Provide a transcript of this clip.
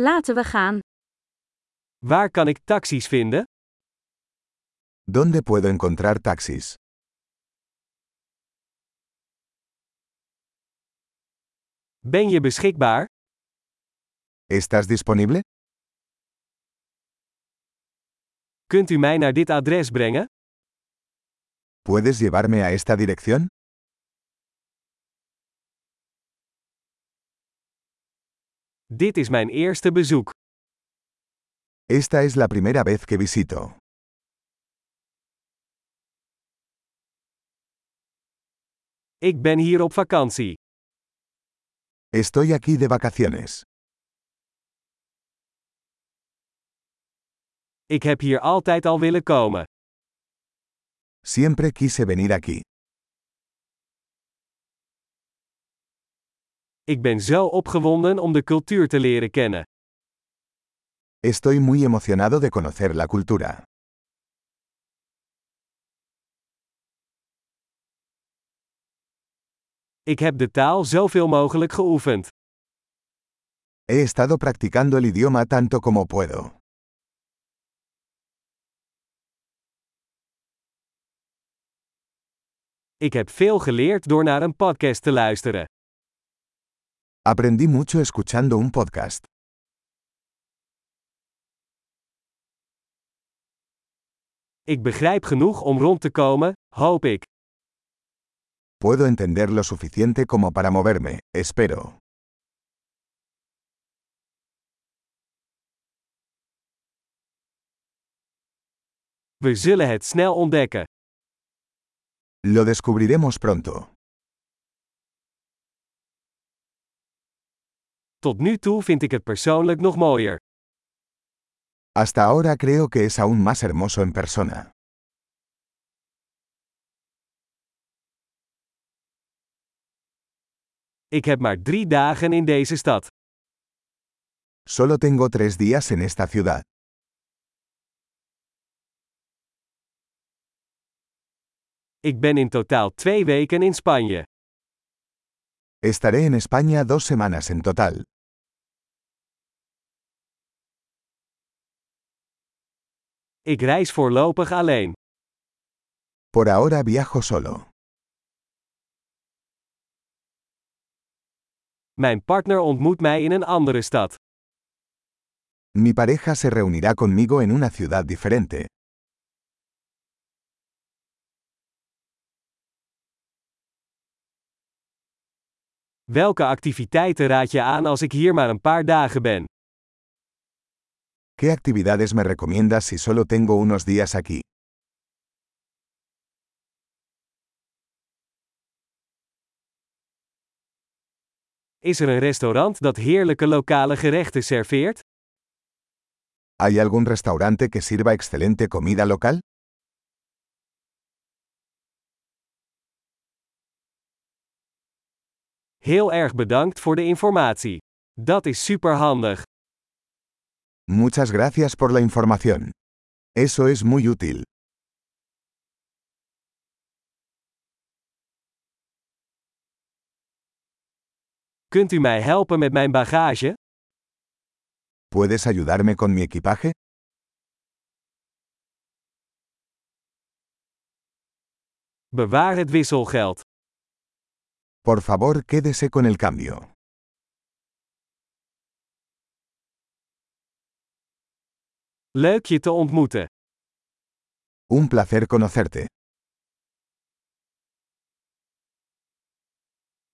Laten we gaan. Waar kan ik taxis vinden? ¿Dónde puedo encontrar taxis? Ben je beschikbaar? ¿Estás disponible? Kunt u mij naar dit adres brengen? ¿Puedes llevarme a esta dirección? Dit is mijn eerste bezoek. Esta es la primera vez que visito. Ik ben hier op vakantie. Estoy aquí de vacaciones. Ik heb hier altijd al willen komen. Siempre quise venir aquí. Ik ben zo opgewonden om de cultuur te leren kennen. Estoy muy emocionado de conocer la cultura. Ik heb de taal zoveel mogelijk geoefend. He estado practicando el idioma tanto como puedo. Ik heb veel geleerd door naar een podcast te luisteren. Aprendí mucho escuchando un podcast. Ik begrijp genoeg om rond te komen, hoop ik. Puedo entender lo suficiente como para moverme, espero. We zullen het snel ontdekken. Lo descubriremos pronto. Tot nu toe vind ik het persoonlijk nog mooier. Hasta ahora creo que es aún más hermoso en persona. Ik heb maar drie dagen in deze stad. Solo tengo tres días en esta ciudad. Ik ben in totaal twee weken in Spanje. Estaré en España dos semanas en total. Ik reis voorlopig alleen. Por ahora viajo solo. Mijn partner ontmoet mij in een andere stad. Mi pareja se reunirá conmigo en una ciudad diferente. Welke activiteiten raad je aan als ik hier maar een paar dagen ben? ¿Qué actividades me recomiendas si solo tengo unos días aquí? Is er een restaurant dat heerlijke lokale gerechten serveert? ¿Hay algún restaurante que sirva excelente comida local? Heel erg bedankt voor de informatie. Dat is superhandig. Muchas gracias por la información. Eso es muy útil. Kunt u mij helpen met mijn bagage? ¿Puedes ayudarme con mi equipaje? Bewaar het wisselgeld. Por favor, quédese con el cambio. Leuk je te ontmoeten. Un placer conocerte.